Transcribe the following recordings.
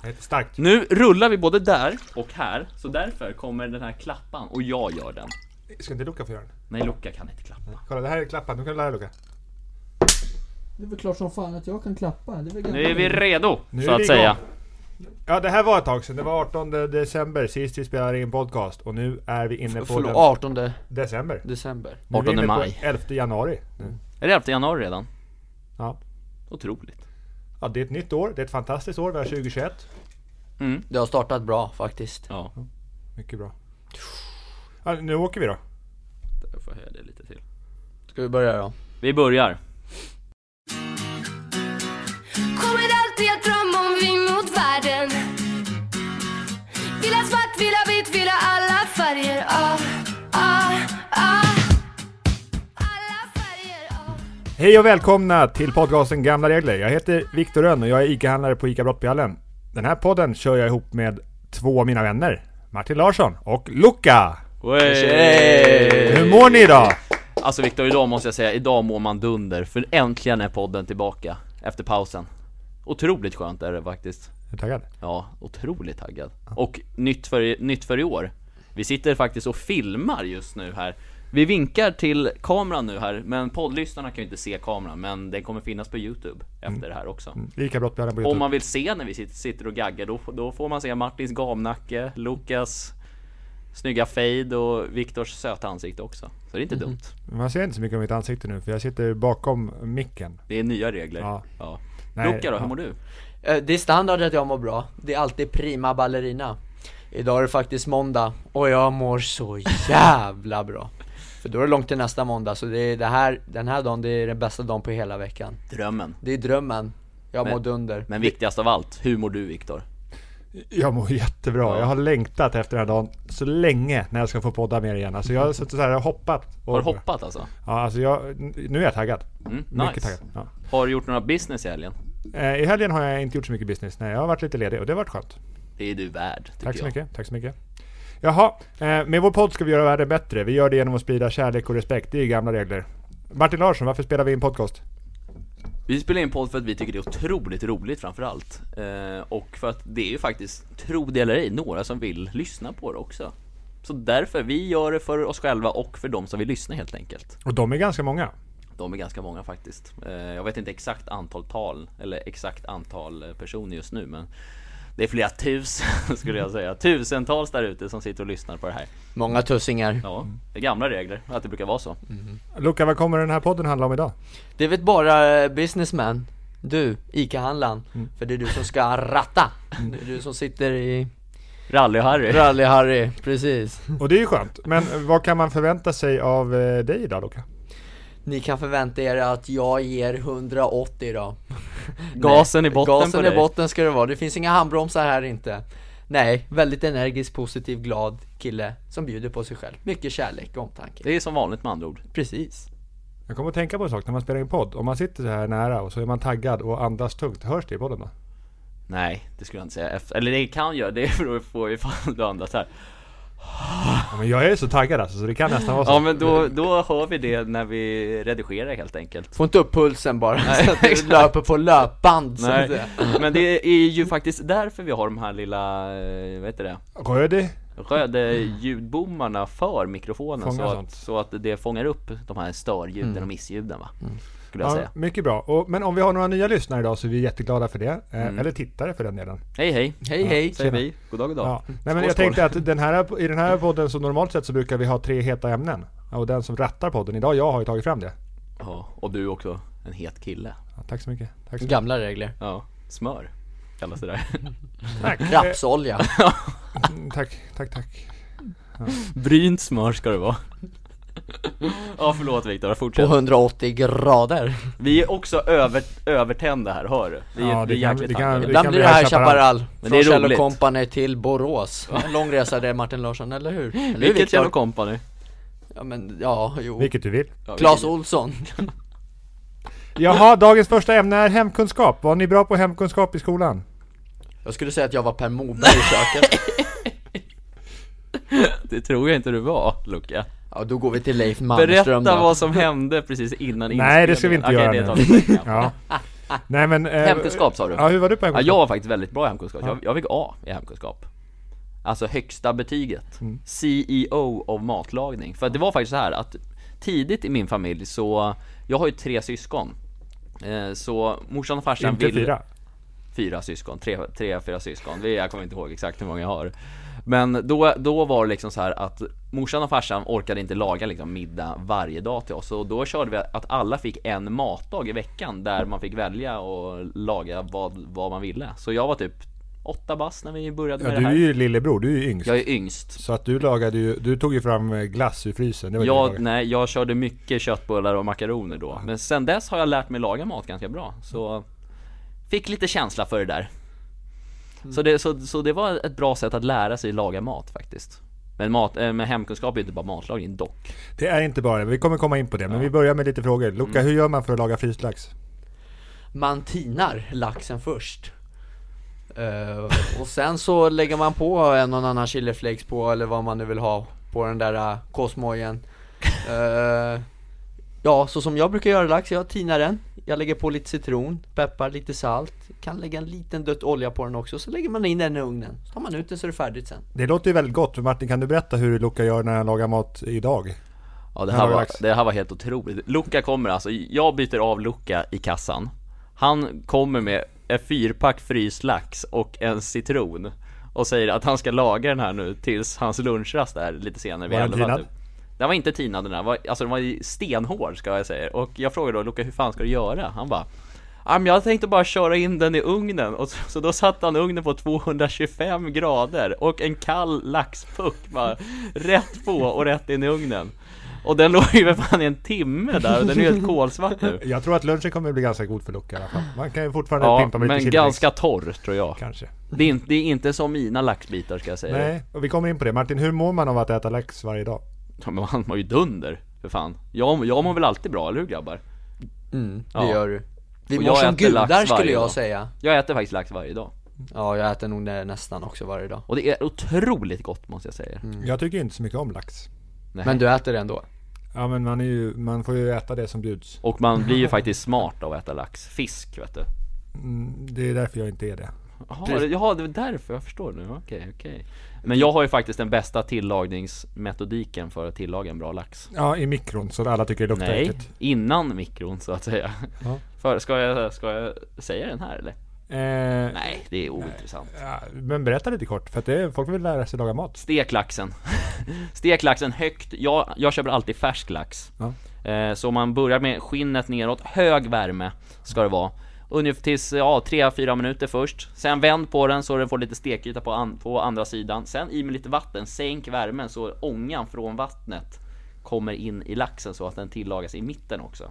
Jag heter Stark. Nu rullar vi både där och här, så därför kommer den här klappan och jag gör den. Ska inte Luca få göra den? Nej, Luca kan inte klappa. Kolla, det här är klappan. Nu kan du lära dig, Luca. Det är väl klart som fan att jag kan klappa. Det är väl Nu gammal- är vi redo, Nu så är vi att säga. Ja, det här var ett tag sedan. Det var 18 december sist vi spelade in podcast. Och nu är vi inne på Förlåt, den 18 december. december. Nu är vi 18 inne på maj. 11 januari. Är det 11 januari redan? Ja. Otroligt. ja, det är ett nytt år. Det är ett fantastiskt år. Vi har 2021. Det har startat bra faktiskt. Ja, Mycket bra. Ja, nu åker vi då. där får jag höja det lite till. Ska vi börja då? Vi börjar. Kommer alltid att drömma om vi mot världen Vill ha svart, vill ha vitt, vill ha alla färger ah, ah, ah. Alla färger ah. Hej och välkomna till podcasten Gamla Regler. Jag heter Viktor Rönn och jag är ICA-handlare på ICA Brottbjallen. Den här podden kör jag ihop med två av mina vänner. Martin Larsson och Luca. Hur mår ni idag? Alltså Viktor, idag måste jag säga, idag mår man dunder, för äntligen är podden tillbaka efter pausen. Otroligt skönt är det faktiskt. Jag är taggad. Ja, otroligt taggad. Och nytt för, i- nytt för i år. Vi sitter faktiskt och filmar just nu här. Vi vinkar till kameran nu här, men poddlyssnarna kan ju inte se kameran, men den kommer finnas på Youtube efter det här också. ICA Brottbjallen på Om Youtube. man vill se när vi sit- sitter och gaggar, då, då får man se Martins gamnacke, Lukas snygga fade och Viktors söta ansikte också. Så det är Mm-hmm. inte dumt. Man ser inte så mycket av mitt ansikte nu för jag sitter bakom micken. Det är nya regler. Ja. Ja. Nej, Luca då, ja. hur mår du? Eh, Det är standard att jag mår bra. Det är alltid prima ballerina. Idag är det faktiskt måndag och jag mår så jävla bra. För då är det långt till nästa måndag, så det är det här, den här dagen, det är den bästa dagen på hela veckan. Drömmen. Det är drömmen. Jag Men- mår dunder. Men viktigast av allt, hur mår du Viktor? Jag mår jättebra. Ja. Jag har längtat efter den här dagen så länge när jag ska få podda med er igen. Alltså jag har suttit så här och hoppat. Och, Har du hoppat alltså? Ja, alltså jag, nu är jag taggad. Mm, Mycket nice. taggad. Ja. Har du gjort några business i helgen? Eh, I helgen har jag inte gjort så mycket business. Nej, jag har varit lite ledig och det har varit skönt. Det är du värd, tycker Tack så jag. mycket, tack så mycket. Jaha, eh, med vår podd ska vi göra världen bättre. Vi gör det genom att sprida kärlek och respekt. Det är gamla regler. Martin Larsson, varför spelar vi in podcast? Vi spelar in podd för att vi tycker det är otroligt roligt framförallt. Eh, och för att det är ju faktiskt, tro det eller ej, några som vill lyssna på det också. Så därför, vi gör det för oss själva och för de som vill lyssna helt enkelt. Och de är ganska många. De är ganska många faktiskt. Eh, jag vet inte exakt antal tal, eller exakt antal eh, personer just nu, men det är flera tusen skulle jag säga. Tusentals där ute som sitter och lyssnar på det här. Många tussingar. Ja, Mm. det är gamla regler, att det brukar vara så. Luca, vad kommer den här podden handla om idag? Det vet bara eh, businessman, du, ICA-handlaren. Mm. För det är du som ska ratta. Det är du som sitter i Rally-Harry. Rally-Harry, precis. Och det är ju skönt. Men vad kan man förvänta sig av eh, dig idag Luca? Ni kan förvänta er att jag ger 180 idag. Gasen i botten Gasen på i dig. botten ska det vara, det finns inga handbromsar här inte. Nej, väldigt energisk, positiv, glad kille som bjuder på sig själv. Mycket kärlek och omtanke. Det är som vanligt med andra ord. Precis. Jag kommer att tänka på en sak när man spelar in podd. Om man sitter så här nära och så är man taggad och andas tungt. Hörs det i podden då? Nej, det skulle jag inte säga. Efter- Eller det kan jag, det beror på ifall du andas här. Ja, men jag är så taggad alltså så det kan nästan vara så. Ja men då, då hör vi det när vi redigerar helt enkelt. Få inte upp pulsen bara, så att du löper på löpband. som Nej, det- men det är ju faktiskt därför vi har de här lilla, eh, vad heter det? Rödi? Röda ljudbommarna för mikrofonen så Fångar sånt. Mm. att, så att det fångar upp de här störljuden och missljuden va? Skulle jag Ja, säga. mycket bra. Och, men om vi har några nya lyssnare idag så är vi jätteglada för det. Eh, Mm. Eller tittare för den delen. Hej hej! Hej hej. Säger vi, goddag goddag. Ja. Nej, men Skål, jag skål. tänkte att den här, i den här podden så normalt sett så brukar vi ha tre heta ämnen. Och den som rattar podden idag, jag har ju tagit fram det. Ja, och du är också, en het kille. Ja, tack så mycket. Tack så mycket. Gamla regler. Ja, smör kallas det där. Tack. Eh, Rapsolja. Mm, tack, tack, tack. Brynt smör ska det vara. Ja förlåt Viktor, På fortsätt. 180 grader. Vi är också över, övertända här, hör du? Vi, Ja, är vi det är kan- jäkligt det kan- taggade. Ibland kan blir bli det här här Chaparral. Chaparral. Men det Från är Kjell roligt. Company till Borås. En lång resa det Martin Larsson, eller hur? Eller hur, Vilket Viktor? Kjell Company? Ja men, ja, jo. Vilket du vill. Ja, Claes Olsson. Jaha, dagens första ämne är hemkunskap. Var ni bra på hemkunskap i skolan? Jag skulle säga att jag var Per Moberg i köket. Det tror jag inte du var, Luca. Ja, då går vi till Leif Malmström Berätta då. vad som hände precis innan Nej, det ska vi inte inspelningen. göra Okej, det tar nu. vi sen. Ja. Nej men... eh, Hemkunskap sa du? Ja, hur var du på Ja, hemkunskap? jag var faktiskt väldigt bra i hemkunskap. Jag, jag fick A i hemkunskap. Alltså högsta betyget. Mm. CEO av matlagning. För att det var faktiskt så här att tidigt i min familj så, jag har ju tre syskon. Eh, Så morsan och farsan Inte ville... fyra. fyra syskon, tre, tre fyra syskon, Vi- jag kommer inte ihåg exakt hur många jag har Men då, då var det liksom så här att morsan och farsan orkade inte laga liksom middag varje dag till oss och då körde vi att alla fick en matdag i veckan där man fick välja och laga vad, vad man ville Så jag var typ åtta bast när vi började Ja, med du det är här ju lillebror, du är ju yngst. Jag är yngst Så att du lagade ju, du tog ju fram eh, glass ur frysen. Det var det du jag, lagade. nej, jag körde mycket köttbullar och makaroner då Men sen dess har jag lärt mig laga mat ganska bra Så Fick lite känsla för det där så, det, så, så det var ett bra sätt att lära sig laga mat faktiskt Men, mat, eh, men hemkunskap är ju inte bara matlagning dock Det är inte bara det, vi kommer komma in på det. Men vi börjar med lite frågor. Luca, Mm. hur gör man för att laga fryst lax? Man tinar laxen först Eh, Och sen så lägger man på en och annan chiliflakes på eller vad man nu vill ha På den där uh, kosmojen Eh, Ja, så som jag brukar göra lax, jag tinar den Jag lägger på lite citron, peppar, lite salt Kan lägga en liten dött olja på den också, så lägger man in den i ugnen Så tar man ut den så är det färdigt sen Det låter ju väldigt gott. Martin, kan du berätta hur Luca gör när han lagar mat idag? Ja det Här här, har vi var, lax. det här var helt otroligt. Luca kommer alltså, jag byter av Luca i kassan. Han kommer med en fyrpack fryst lax och en citron. Och säger att han ska laga den här nu tills hans lunchrast är lite senare vid Var den elva, tinad? typ. Den var inte tinad den här, var, alltså den var ju stenhård ska jag säga. Och jag frågade då Luca hur fan ska du göra? Han bara "Ja, men jag tänkte bara köra in den i ugnen och så, så då satte han ugnen på 225 grader och en kall laxpuck bara rätt på och rätt in i ugnen. Och den låg ju för fan i en timme där och den är ju helt kolsvart nu. Jag tror att lunchen kommer bli ganska god för Luca i alla fall. Man kan ju fortfarande Ja, pimpa med lite men chiliflakes, ganska Eh. torr tror jag. Kanske. Det är, inte, det är inte som mina laxbitar ska jag säga. Nej, och vi kommer in på det. Martin, hur mår man av att äta lax varje dag? Ja, Men han var ju dunder, för fan. Jag, jag mår väl alltid bra, eller hur grabbar? Mm, det Ja. gör du Vi Och mår jag som äter lax gudar skulle varje jag dag. säga Jag äter faktiskt lax varje dag. Ja, jag äter nog det nästan också varje dag Och det är otroligt gott måste jag säga. Jag tycker ju inte så mycket om lax. Nej. Men du äter det ändå? Ja, men man, är ju, man får ju äta det som bjuds. Och man blir ju faktiskt smart av att äta lax. Fisk vet du. Mm, Det är därför jag inte är det. Jaha, det- jaha, det var därför, jag förstår nu. Okej, okej. Men jag har ju faktiskt den bästa tillagningsmetodiken för att tillaga en bra lax. Ja, i mikron så att alla tycker det luktar Nej, äckligt. innan mikron så att säga. Ja. För, ska, jag, ska jag säga den här eller? Eh, Nej, det är ointressant. ja, men berätta lite kort, för att det, folk vill lära sig laga mat. Stek laxen. Stek laxen högt. Jag, jag köper alltid färsk lax. Eh, så man börjar med skinnet neråt, hög värme ska det vara. Ungefär tills, ja, 3-4 minuter först. Sen vänd på den så den får lite stekyta på, an, på andra sidan. Sen i med lite vatten, sänk värmen så ångan från vattnet kommer in i laxen så att den tillagas i mitten också.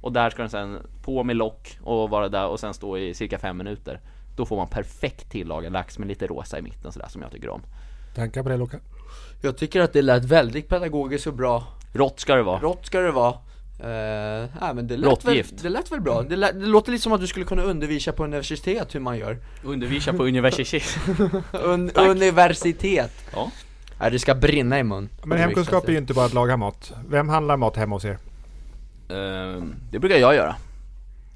Och där ska den sen på med lock och vara där och sen stå i cirka 5 minuter. Då får man perfekt tillagad lax med lite rosa i mitten sådär som jag tycker om. Tankar på det Loka? Jag tycker att det lät väldigt pedagogiskt och bra Rått ska det vara. Rått ska det vara Uh, nej, men det lät, väl, Råttgift. det lät väl bra, det, lät, det låter lite som att du skulle kunna undervisa på universitet hur man gör Undervisa på universitet. Un- Universitet! Ja. Nej det ska brinna i mun Men hemkunskap är ju inte bara att laga mat. Vem handlar mat hemma hos er? Ehm, det brukar jag göra.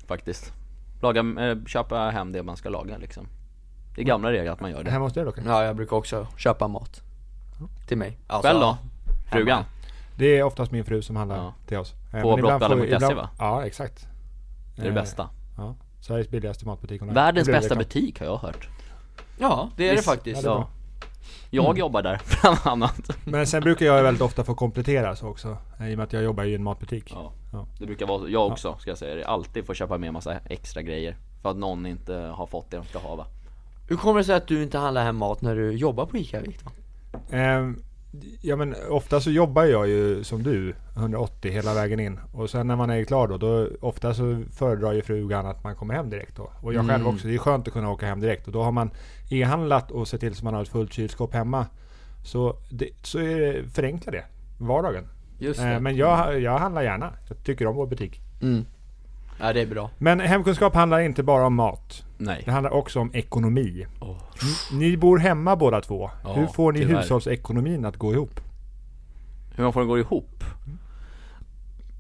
Faktiskt. Laga, eh, köpa hem det man ska laga liksom. Det är gamla regler att man gör det. Hemma hos dig Loka? Ja jag brukar också köpa mat Till mig alltså, Själv då? Frugan? Det är oftast min fru som handlar Ja. till oss. Eh, men På ibland Brottballa får vi- punkt ibland- se, E, va? Ja, exakt. Eh, Det är det bästa. Ja. Sveriges billigaste matbutik online. Världens Det blir bästa reklam. butik har jag hört. Ja det är det Visst. faktiskt Ja, det är Ja. Jag jobbar där bland annat. Men sen brukar jag väldigt ofta få komplettera så också. eh, I och med att jag jobbar i en matbutik. Ja. Det brukar vara så. Jag också ska jag säga det. Alltid får köpa med massa extra grejer. För att någon inte har fått det de ska ha va. Hur kommer det sig att du inte handlar hem mat när du jobbar på ICA Viktor? Ehm, ja men ofta så jobbar jag ju som du, 180 hela vägen in. Och sen när man är klar då, då ofta så föredrar ju frugan att man kommer hem direkt då. Och jag själv Mm. också, det är skönt att kunna åka hem direkt. Och då har man e-handlat och sett till så man har ett fullt kylskåp hemma. Så, det, så är det, förenklar det vardagen. Just Eh, men jag, jag handlar gärna. Jag tycker om vår butik. mm. Ja det är bra Men hemkunskap handlar inte bara om mat. Nej. Det handlar också om ekonomi. Åh. Ni bor hemma båda två. Ja, Hur får ni tyvärr. hushållsekonomin att gå ihop? Hur man får Mm. den gå ihop?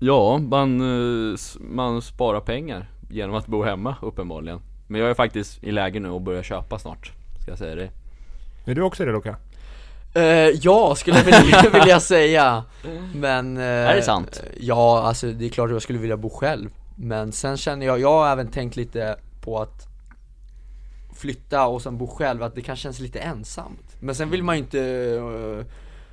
Ja, man, eh, s- man sparar pengar genom att bo hemma uppenbarligen. Men jag är faktiskt i läge nu och börjar köpa snart, ska jag säga det. Är du också det Luka? Eh, ja, skulle jag vilja, vilja säga. Men... eh, Är det sant? eh, Ja, alltså det är klart jag skulle vilja bo själv. Men sen känner jag, jag har även tänkt lite på att flytta och sen bo själv, att det kanske känns lite ensamt. Men sen vill man ju inte eh,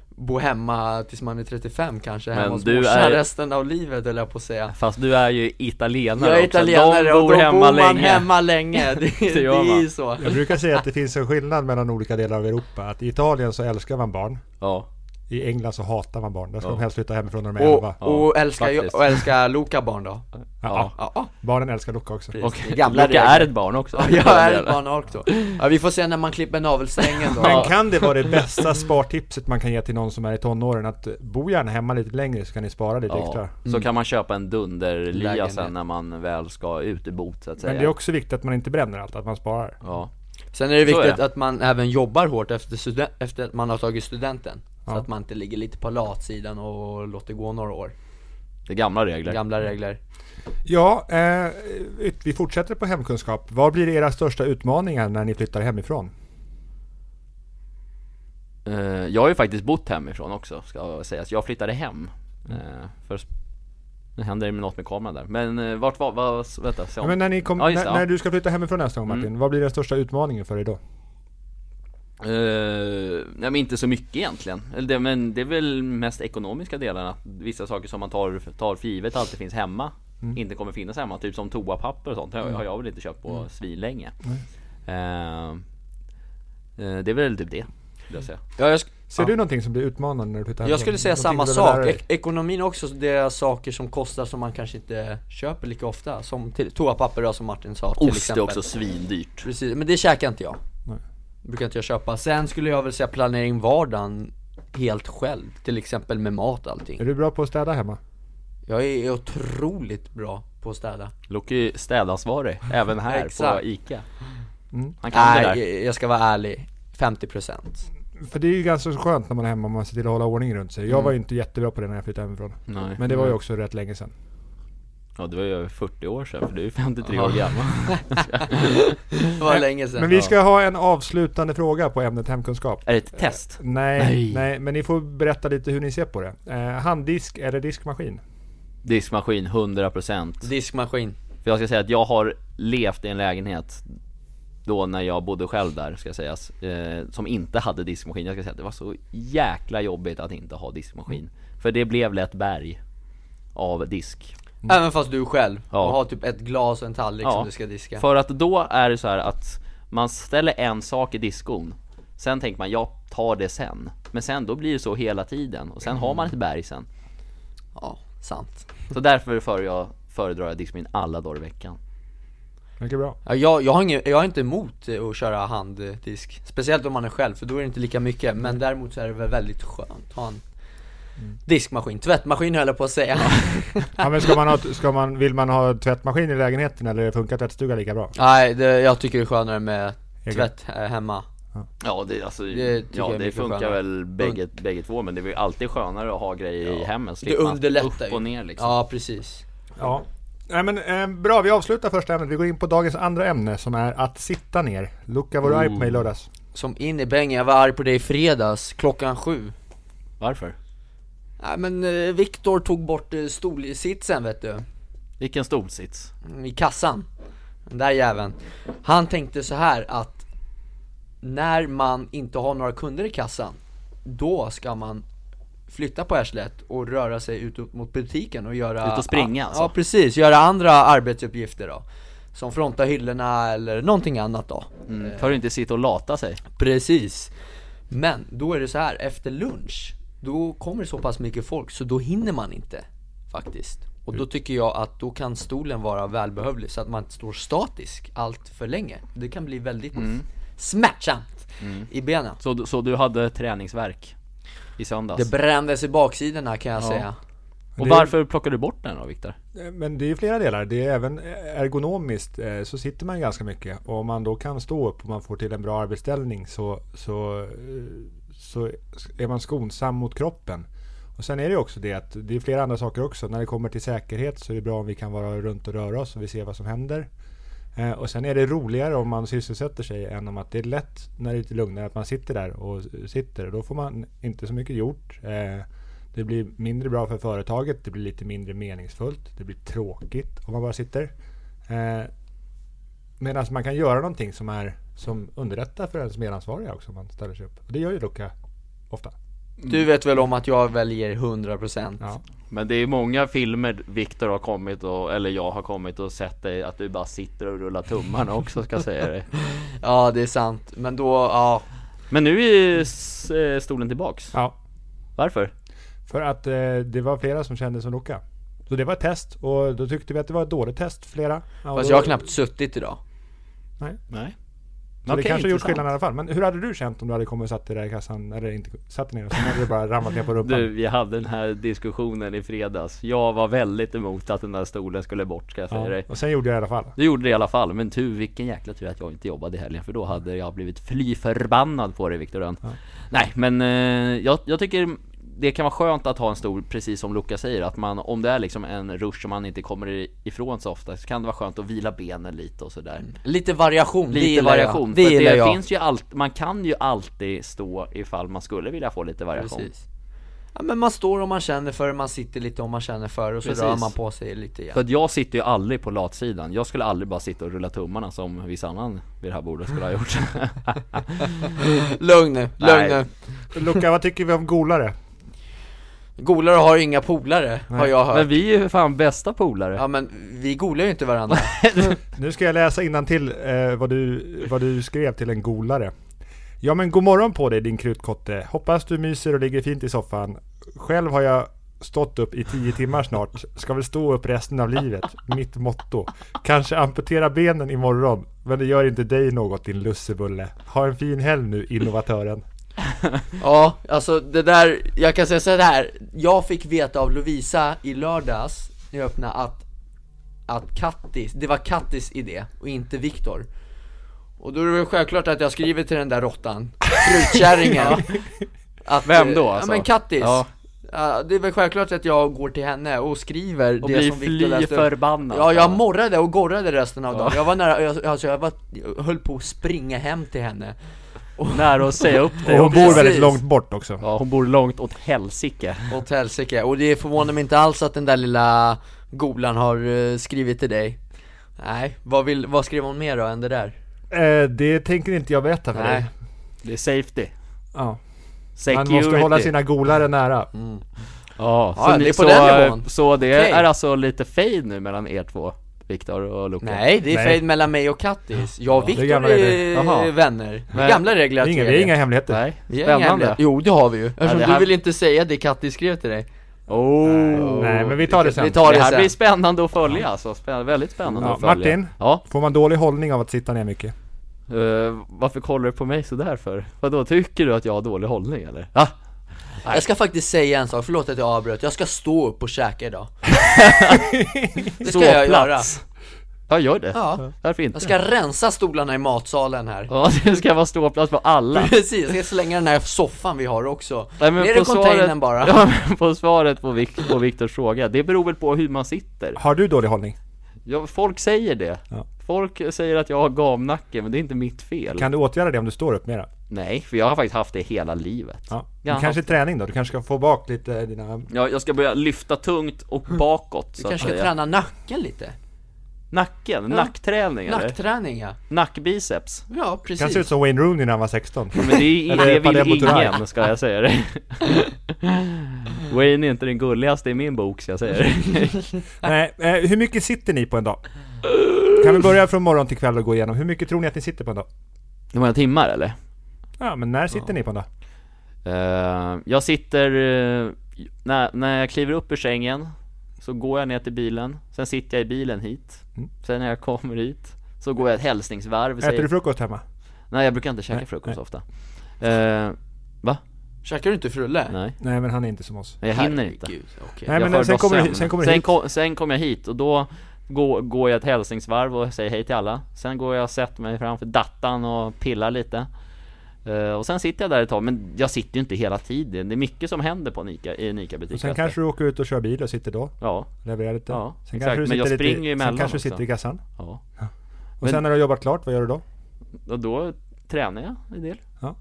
bo hemma tills man är 35 kanske, hemma Men hos du morsan är- resten av livet höll jag på att säga. Fast du är ju italienare Jag är också. italienare De och bor då hemma bor man länge. hemma länge, det, det, gör är man. ju så. Jag brukar säga att det finns en skillnad mellan olika delar av Europa. Att i Italien så älskar man barn. Ja. I England så hatar man barn. Där ska Ja. de helst flytta hemifrån när de är elva. Och, och, älskar, faktiskt. och älskar Loka barn då? Ja. Ja, ja. Barnen älskar Luka också. Precis. Och Det är gamla Luca regler. är ett barn också. Jag är ett barn ork då. Ja, vi får se när man klipper navelsträngen då. Men kan det vara det bästa spartipset man kan ge till någon som är i tonåren? Att bo gärna hemma lite längre så kan ni spara lite extra. Ja. Så kan man köpa en dunderlia Lägenhet. sen när man väl ska ut i bot så att säga. Men det är också viktigt att man inte bränner allt, att man sparar. Ja. Sen är det Så är viktigt det. att man även jobbar hårt efter, studen- efter att man har tagit studenten. Så Ja. att man inte ligger lite på latsidan och låter gå några år. Det är gamla regler. Gamla regler. Ja, eh, ut- vi fortsätter på hemkunskap. Vad blir era största utmaningar när ni flyttar hemifrån? Eh, jag har ju faktiskt bott hemifrån också, ska sägas. Jag flyttade hem. Eh, för nu händer det med något med kameran där. Men eh, vart var, vad, vänta, se Ja, om. men när, ni kom, Ja, just när, det, ja. Mm. när du ska flytta hemifrån nästa gång Martin, vad blir den största utmaningen för dig då? Eh, nej men inte så mycket egentligen. Eller det, men det är väl mest ekonomiska delarna. Att Vissa saker som man tar, tar för givet alltid finns hemma. Inte kommer finnas hemma. Typ som toapapper och sånt. Det har- har jag väl inte köpt på svinlänge. Eh, eh, det är väl typ det. skulle Jag säga. Ja, jag, sk- Ser du någonting som blir utmanande när du flyttar hemifrån? jag skulle säga Någonting samma du behöver sak. lära dig? Ek- ekonomin också, det är saker som kostar som man kanske inte köper lika ofta. Som till, toapapper då, som Martin sa till Ost är exempel. också svindyrt. Precis, men det käkar inte jag. Nej. Brukar inte jag köpa. Sen skulle jag väl säga planering vardagen helt själv. Till exempel med mat och allting. Är du bra på att städa hemma? Jag är otroligt bra på att städa. Loki städansvarig, även här Exakt. på ICA Mm. Han kan det Nej, där jag- jag ska vara ärlig. 50% För det är ju ganska så skönt när man är hemma om man ser till att hålla ordning runt sig. Jag Mm. var ju inte jättebra på det när jag flyttade hemifrån. Nej. Men det var ju också rätt länge sedan. Ja det var ju över 40 år sedan för du är 53 år gammal Det var länge sedan Men vi ska ha en avslutande fråga på ämnet hemkunskap. Är det ett test? Nej, nej, Nej. men ni får berätta lite hur ni ser på det. Eh, handdisk eller diskmaskin? Diskmaskin 100% Diskmaskin För jag ska säga att jag har levt i en lägenhet Då när jag bodde själv där ska sägas eh, Som inte hade diskmaskin, jag ska säga att det var så jäkla jobbigt att inte ha diskmaskin För det blev lätt berg Av disk Även fast du själv Ja. och har typ ett glas och en tallrik Ja, som du ska diska För att då är det så här att man ställer en sak i diskon Sen tänker man, jag tar det sen Men sen då blir det så hela tiden och sen har man ett berg sen Ja, sant Så därför för jag, föredrar jag diskmin alla dagar i veckan Mycket bra. ja, jag, jag, har ingen, jag är inte emot eh, att köra handdisk Speciellt om man är själv, för då är det inte lika mycket Men däremot så är det väl väldigt skönt att ha en Mm. diskmaskin Tvättmaskin höll jag på att säga Ja, men ska man ha, ska man, vill man ha tvättmaskin i lägenheten eller funkar tvättstuga lika bra? Nej, det, jag tycker det är skönare med Egen. tvätt eh, hemma Ja det, alltså, Det tycker ja, jag det är mycket funkar skönare. väl bägge, bägge två men det är ju alltid skönare att ha grejer i hemmet Det slipper man underlättar upp och ner liksom Ja, precis Ja. Nej, men, eh, bra, vi avslutar första ämnet. Vi går in på dagens andra ämne som är att sitta ner. Luca, var du arg på mig i lördags? Som in i bängen, jag var arg på dig i fredags klockan sju Varför? Nej men eh, Viktor tog bort eh, stolsitsen vet du, Vilken stolsits? Mm, i kassan Den där jäveln Han tänkte så här att när man inte har några kunder i kassan Då ska man flytta på arslet och röra sig ut mot butiken och göra Ut och springa, ja, alltså. Ja precis, göra andra arbetsuppgifter då Som fronta hyllorna eller någonting annat då Mm. För att inte sitta och lata sig Precis. Men då är det så här efter lunch, då kommer det så pass mycket folk så då hinner man inte faktiskt. Och Mm. då tycker jag att då kan stolen vara välbehövlig så att man inte står statisk allt för länge. Det kan bli väldigt Mm. smärtsamt i benen. Så, du- så du hade träningsverk i söndags? Det brändes i baksidorna kan jag Ja. säga. och det är- varför plockade du bort den då Viktor? Eh, Men det är ju flera delar. Det är även ergonomiskt eh, så sitter man ju ganska mycket. Och om man då kan stå upp och man får till en bra arbetsställning så, så, eh, så är man skonsam mot kroppen. Och Och sen är det ju också det att det är flera andra saker också. När det kommer till säkerhet så är det bra om vi kan vara runt och röra oss och vi ser vad som händer. Eh, och sen är det roligare om man sysselsätter sig än om att det är lätt när det är lite lugnare att man sitter där och sitter. Och då får man inte så mycket gjort. Eh, det blir mindre bra för företaget. Det blir lite mindre meningsfullt. Det blir tråkigt om man bara sitter. Eh, Medan man kan göra någonting som, är, som underlättar för ens medansvariga också om man ställer sig upp. Och det gör ju Luca ofta. Mm. Du vet väl om att jag väljer 100% Ja. Men det är många filmer Viktor har kommit och, eller jag har kommit och sett dig att du bara sitter och rullar tummarna också ska jag säga det Ja det är sant, men då, ja Men nu är s- eh, stolen tillbaks, ja. varför? För att eh, det var flera som kände som Luca. Så det var ett test och då tyckte vi att det var ett dåligt test, flera. Ja, och Fast då- jag har knappt suttit idag Nej Så det kanske gjort skillnad i alla fall. Men hur hade du känt om du hade kommit och satt dig där i kassan, eller inte satt dig ner och sen hade du bara ramlat ner på rumpan? Du, vi hade den här diskussionen i fredags Jag var väldigt emot att den där stolen skulle bort ska jag säga ja. dig Och sen gjorde jag i alla fall. Du gjorde det i alla fall, men tur, vilken jäkla tur att jag inte jobbade i helgen för då hade jag blivit fly förbannad på dig Viktor Rönn Nej men eh, jag, jag tycker det kan vara skönt att ha en stor, precis som Luca säger, att man om det är liksom en rush som man inte kommer i- ifrån så ofta så kan det vara skönt att vila benen lite och sådär Lite variation, Mm. det Lite gillar variation, för jag. Det att gillar det jag finns ju allt, man kan ju alltid stå ifall man skulle vilja få lite variation Precis Ja men man står om man känner för det, man sitter lite om man känner för det, och så Precis. rör man på sig lite igen För att jag sitter ju aldrig på latsidan, jag skulle aldrig bara sitta och rulla tummarna som viss annan vid det här bordet skulle ha gjort Lugn nu, lugn Nej. nu Luca, vad tycker vi om golare? Golare har inga polare, har jag hört Men vi är ju fan bästa polare Ja men vi golar ju inte varandra Nu ska jag läsa innantill eh, vad, du, vad du skrev till en golare. Ja men god morgon på dig din krutkotte. Hoppas du myser och ligger fint i soffan. Själv har jag stått upp i tio timmar snart. Ska väl stå upp resten av livet. Mitt motto. Kanske amputera benen imorgon. Men det gör inte dig något din lussebulle. Ha en fin helg nu innovatören. Ja, alltså det där, jag kan säga så här. Jag fick veta av Lovisa i lördags, när jag öppnade, att, att Kattis, det var Kattis idé och inte Viktor. Och då är det väl självklart att jag skriver till den där råttan, frutkärringen. att, Vem då, eh, alltså? Ja men Kattis. Ja. Ja, det är väl självklart att jag går till henne och skriver Och det blir som Viktor fly läste upp. förbannad Ja, jag morrade och gorrade resten av Ja. dagen. Jag var nära, jag, alltså jag, var, jag höll på att springa hem till henne. Nära att säga upp Och dig hon bor väldigt precis. långt bort också. Ja hon bor långt åt helsike Åt helsike, och det förvånar mig inte alls att den där lilla golan har eh, skrivit till dig Nej, vad, vill, vad skrev hon mer då än det där? Eh, det tänker inte jag berätta för dig. Nej, Det är safety Ja. Man Security måste hålla sina golare nära. Ja, Ja, så, det ni, är på så, den nivån. så det Okej. är alltså lite fade nu mellan er två Viktor och Luca Nej, det är Nej. fejd mellan mig och Kattis Jag och det är Viktor gamla regler. är, Jaha. vänner Men- Gamla regler Det är att inga, vi det är inga hemligheter. Nej, Vi har inga spännande hemligheter. Jo det har vi ju, eftersom det här- du vill inte säga det Kattis skrev till dig oh. Nej men vi tar det sen. Vi tar Det det här sen blir spännande att följa alltså, Spä- väldigt spännande Ja, att följa Martin? Ja, Får man dålig hållning av att sitta ner mycket? eh, varför kollar du på mig sådär för? Vadå, tycker du att jag har dålig hållning eller? Ah, Jag ska faktiskt säga en sak, förlåt att jag avbröt Jag ska stå upp och käka idag Det ska jag göra ståplats. Ja, gör det. Ja, Varför inte? jag ska rensa stolarna i matsalen här Ja, det ska vara ståplats för alla. Precis, jag ska slänga den här soffan vi har också Nej, men Ner på i containern svaret- bara Ja, men på svaret på, Vikt, på Viktors fråga, det beror väl på hur man sitter. Har du dålig hållning? Ja, folk säger det. Ja. Folk säger att jag har gamnacke, men det är inte mitt fel. Kan du åtgärda det om du står upp mera? Nej, för jag har faktiskt haft det hela livet. Ja. Ja, Men kanske träning då? Du kanske ska få bak lite eh, dina... Ja, jag ska börja lyfta tungt och Mm. bakåt Du så kanske att ska säga. träna nacken lite? Nacken, nackträning eller? Nackträning ja, Nackbiceps. ja Kan se ut precis som Wayne Rooney när han var 16. Men det, är, Eller det Padel vill Motorai. ingen, ska jag säga det. Wayne är inte den gulligaste i min bok, ska jag säga det. Nej, eh, hur mycket sitter ni på en dag? Kan vi börja från morgon till kväll och gå igenom? Hur mycket tror ni att ni sitter på en dag? Hur många timmar eller? Ja, men när sitter ni på en dag? Eh, jag sitter, eh, när, när jag kliver upp ur sängen Så går jag ner till bilen, sen sitter jag i bilen hit Sen när jag kommer hit Så går jag ett hälsningsvarv Mm. Äter säger, du frukost hemma? Nej jag brukar inte käka Nej, frukost ofta Eh, Va? Käkar du inte frulle? Nej, Nej, men han är inte som oss. jag hinner inte Herregud, okej Nej, jag men sen föredrar kommer, du, sömn. sen kommer du sen, hit. kom, sen kommer jag hit och då går, går jag ett hälsningsvarv och säger hej till alla Sen går jag och sätter mig framför dattan och pillar lite Eh, Och sen sitter jag där ett tag, men jag sitter ju inte hela tiden. Det är mycket som händer på en Ica, i en Och Ica-butik. alltså. sen kanske du åker ut och kör bil och sitter då. Ja, Levererar lite. Ja, sen exakt. kanske du Men jag sitter lite i- springer ju emellan Sen kanske du också. sitter i kassan. ja. Och Men- sen när du har jobbat klart, vad gör du då? Och då tränar jag en del. Ja.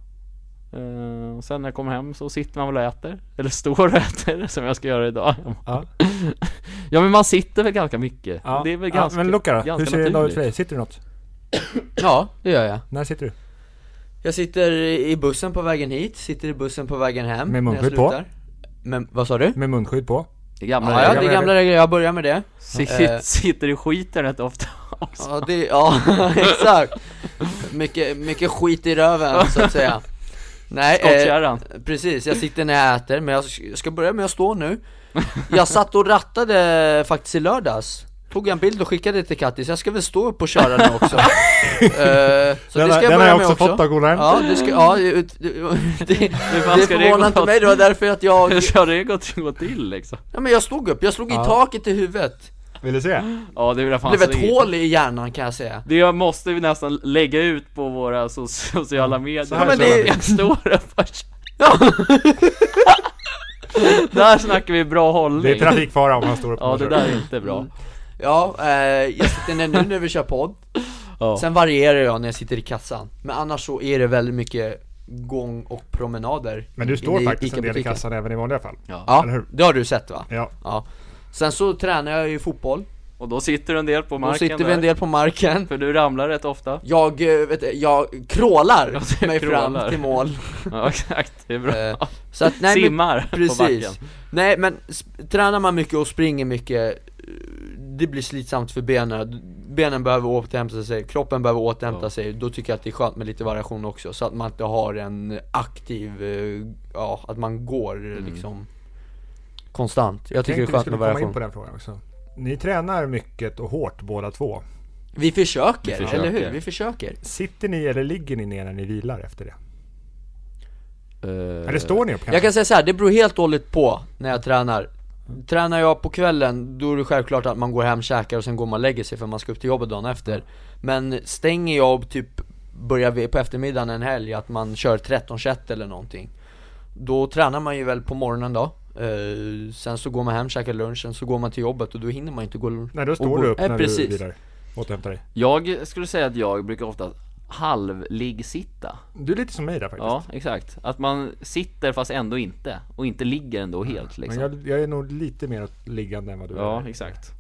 Eh, och sen när jag kommer hem så sitter man väl och äter. Eller står och äter, som jag ska göra idag. Ja. Ja men man sitter väl ganska mycket. Ja. Det är väl Ja, ganska, men Luca då? Hur ganska ser det ut naturligt. för dig? Sitter du något? Ja, det gör jag När sitter du? Jag sitter i bussen på vägen hit, sitter i bussen på vägen hem Med när jag munskydd på? slutar. Men vad sa du? Med munskydd på? Det gamla Ja, ja, det är regler. gamla regler, jag börjar med det Sitt, Eh. Sitter i skiten rätt ofta också. Ja, det, ja exakt mycket, mycket skit i röven så att säga Nej, eh, Skottkärran. precis, jag sitter när jag äter, men jag sk- ska börja med att stå nu Jag satt och rattade faktiskt i lördags Tog en bild och skickade till Kattis, jag ska väl stå upp och köra nu också eh, Så Den det har- ska den jag har börja jag med också också fått av Gunnar. Ja, det ska, ja, ut- det, det, fan det ska det gå förvånar inte åt? mig, det var därför att jag Hur ska det gått gå till liksom? Ja men jag stod upp, jag slog i Ja. taket i huvudet Vill du se? Ja det vill jag Det fan blev ett säga. hål i hjärnan kan jag säga Det jag måste vi nästan lägga ut på våra so- sociala medier. här men kör det vi. jag står och först. Ja. Där snackar vi bra hållning. Det är trafikfara om han står upp och Ja det kör. där är inte bra. Ja, eh, jag sitter ner nu när vi kör podd Ja. Sen varierar jag när jag sitter i kassan Men annars så är det väldigt mycket gång och promenader Men du står inne i faktiskt en del i Ica-butiken. kassan även i vanliga fall. Ja, eller hur? det har du sett va? Ja. Ja Sen så tränar jag ju fotboll, Och då sitter du en del på då marken sitter vi en där. del på marken För du ramlar rätt ofta. Jag, eh, vet, du, jag krålar Ja, du mig krålar. fram till mål Ja exakt, det är bra. Eh, Så att, nej, men- Simmar på backen. Precis. Nej men sp- tränar man mycket och springer mycket, eh, det blir slitsamt för benen. Benen behöver återhämta sig, kroppen behöver återhämta Ja. sig. Då tycker jag att det är skönt med lite variation också, så att man inte har en aktiv, eh, ja, att man går eh, Mm. liksom konstant. Jag tycker det är Tänkte vi skönt skulle med komma in variation. på den frågan också. Ni tränar mycket och hårt båda två. Vi försöker, Vi försöker. eller hur? Vi försöker. Sitter ni eller ligger ni ner när ni vilar efter det? Eh, Eller står ni upp kanske? Jag kan säga så här, det beror helt och hållet på när jag tränar. Tränar jag på kvällen, då är det självklart att man går hem, käkar och sen går man och lägger sig för man ska upp till jobbet dagen efter. Men stänger jag och typ börjar vi- på eftermiddagen en helg, att man kör 13-21 eller någonting. Då tränar man ju väl på morgonen då. Eh, sen så går man hem, käkar lunchen, så går man till jobbet och då hinner man inte gå lunch. Nej, då och står gå- du upp Nej, när du precis. vilar. Återhämtar dig. Jag skulle säga att jag brukar ofta halvliggsitta. Du är lite som mig där faktiskt. Ja, exakt. Att man sitter fast ändå inte. Och inte ligger ändå helt liksom. Men jag, jag är nog lite mer åt liggande än vad du Ja, är. exakt.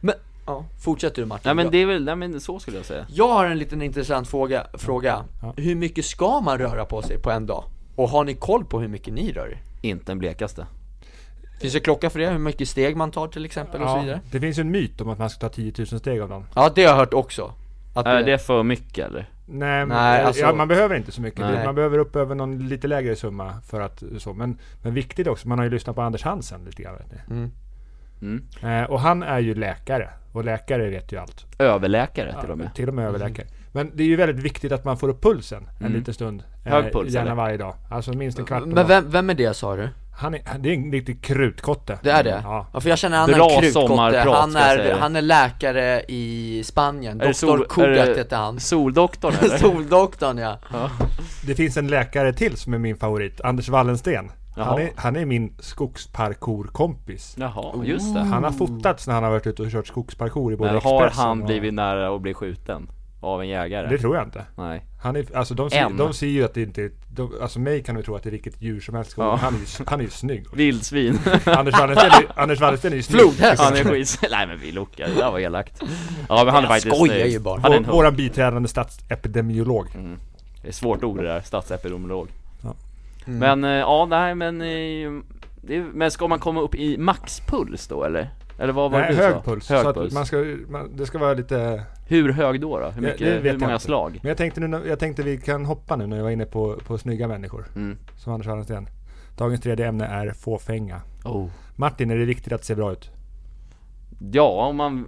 Men, ja, fortsätter du Martin. Nej men Jag- det är väl, nej men så skulle jag säga. Jag har en liten intressant fråga, fråga. Hur mycket ska man röra på sig på en dag? Och har ni koll på hur mycket ni rör er? Inte den blekaste. Finns det klocka för det? Hur mycket steg man tar till exempel och så vidare? det finns ju en myt om att man ska ta 10 000 steg av dagen. Ja, det har jag hört också Att Är det för mycket eller? Nej, men- eh, Nej, alltså- ja, man behöver inte så mycket. Nej. Man behöver upp över någon lite lägre summa för att så. Men, men viktigt också, man har ju lyssnat på Anders Hansen lite grann. Vet ni. Mm. Eh, och han är ju läkare. Och läkare vet ju allt. Överläkare till och med. Till och med överläkare. Mm. Men det är ju väldigt viktigt att man får upp pulsen en liten stund. eh, Hög puls, Gärna eller? varje dag. Alltså minst en kvart om Men dagen. vem, vem är det sa du? Han är, han- det är en riktig krutkotte. Det är det? Ja. Ja, för jag känner en Bra annan krutkotte, sommarprat, han ska jag är, säga. han är läkare i Spanien, Är det sol- Doktor Kugat är det- heter han Soldoktorn eller? Soldoktorn ja, Det finns en läkare till som är min favorit. Anders Wallensten. Han Jaha. är, han är min skogsparkourkompis. Jaha, just det. Oh. Han har fotats när han har varit ute och kört skogsparkour i både Men har Expressen han och- blivit nära att bli skjuten? Av en jägare? Det tror jag inte. Nej. Han är, alltså de, ser, En. de ser ju att det inte är... De, alltså mig kan du tro att det är vilket djur som helst. Ja. Han, är ju, han är ju snygg. Vildsvin. Anders Wallensten är, ju- Anders Wallensten är ju snygg. flodhäst! Han är skits... Nej men vi lockar, det där var elakt. Ja men han är Jag faktiskt skojar snygg. ju bara. Han Vår, är en hund. Mm. våran biträdande statsepidemiolog. Det är ett svårt ord det där, statsepidemiolog. Men eh, ja, nej men eh, det, är- Men ska man komma upp i maxpuls då eller? Eller vad var det Nej, du hög sa? puls. Hög så puls. att man ska, man, det ska vara lite... Hur hög då då? Hur, Ja, mycket, det vet hur jag många inte. slag? Men jag tänkte, nu, när- jag tänkte vi kan hoppa nu när jag var inne på, på snygga människor. Mm. Som Anders Wallensten. Dagens tredje ämne är fåfänga. Oh. Martin, är det viktigt att se bra ut? Ja, om man...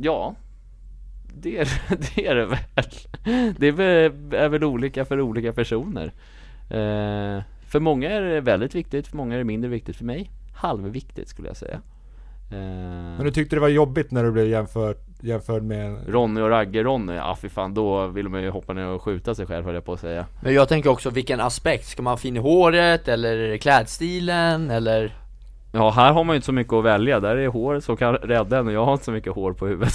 Ja. Det är det, är det väl. Det är väl, är väl olika för olika personer. Eh, för många är det väldigt viktigt, för många är det mindre viktigt. För mig, halvviktigt skulle jag säga. Eh, Men du tyckte det var jobbigt när du blev jämfört jämförd med... Ronny och Ragge-Ronny, ja fy fan då vill man ju hoppa ner och skjuta sig själv höll jag på att säga Men jag tänker också, vilken aspekt? Ska man ha fin i håret, eller klädstilen, eller? Ja här har man ju inte så mycket att välja, där är hår som kan rädda en och jag har inte så mycket hår på huvudet